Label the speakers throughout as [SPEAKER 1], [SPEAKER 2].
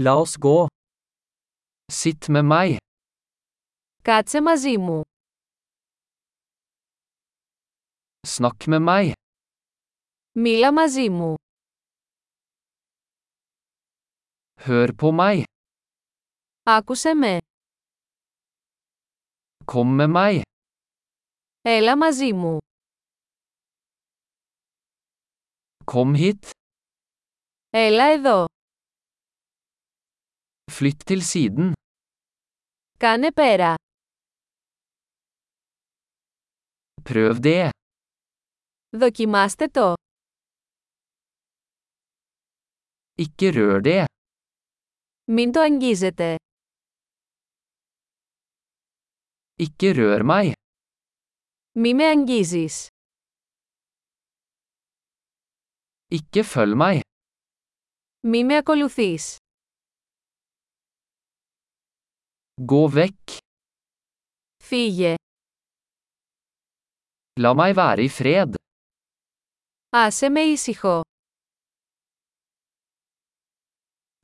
[SPEAKER 1] La oss gå. Sitt med mig.
[SPEAKER 2] Κάτσε μαζί μου.
[SPEAKER 1] Snakk med mig.
[SPEAKER 2] Μίλα μαζί μου.
[SPEAKER 1] Hør på mig.
[SPEAKER 2] Άκουσε με.
[SPEAKER 1] Kom med mig.
[SPEAKER 2] Έλα μαζί μου.
[SPEAKER 1] Kom hit.
[SPEAKER 2] Έλα εδώ.
[SPEAKER 1] Flytt til siden.
[SPEAKER 2] Κάνε πέρα.
[SPEAKER 1] Prøv det.
[SPEAKER 2] Δοκιμάστε το.
[SPEAKER 1] Ikke rør det.
[SPEAKER 2] Μην το αγγίζετε.
[SPEAKER 1] Ikke rør meg.
[SPEAKER 2] Μη με αγγίζεις.
[SPEAKER 1] Ikke følg meg.
[SPEAKER 2] Μη με ακολουθείς.
[SPEAKER 1] Gå vekk.
[SPEAKER 2] Φύγε.
[SPEAKER 1] La meg være i fred.
[SPEAKER 2] Άσε με ήσυχο.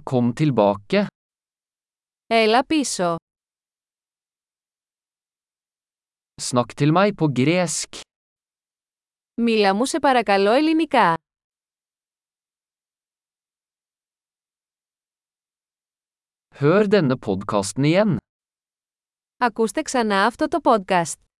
[SPEAKER 1] Kom tilbake.
[SPEAKER 2] Έλα πίσω.
[SPEAKER 1] Snakk til meg på gresk.
[SPEAKER 2] Μίλα μου σε παρακαλώ ελληνικά.
[SPEAKER 1] Hør denne podkasten igjen.
[SPEAKER 2] Ακούστε ξανά αυτό το podcast.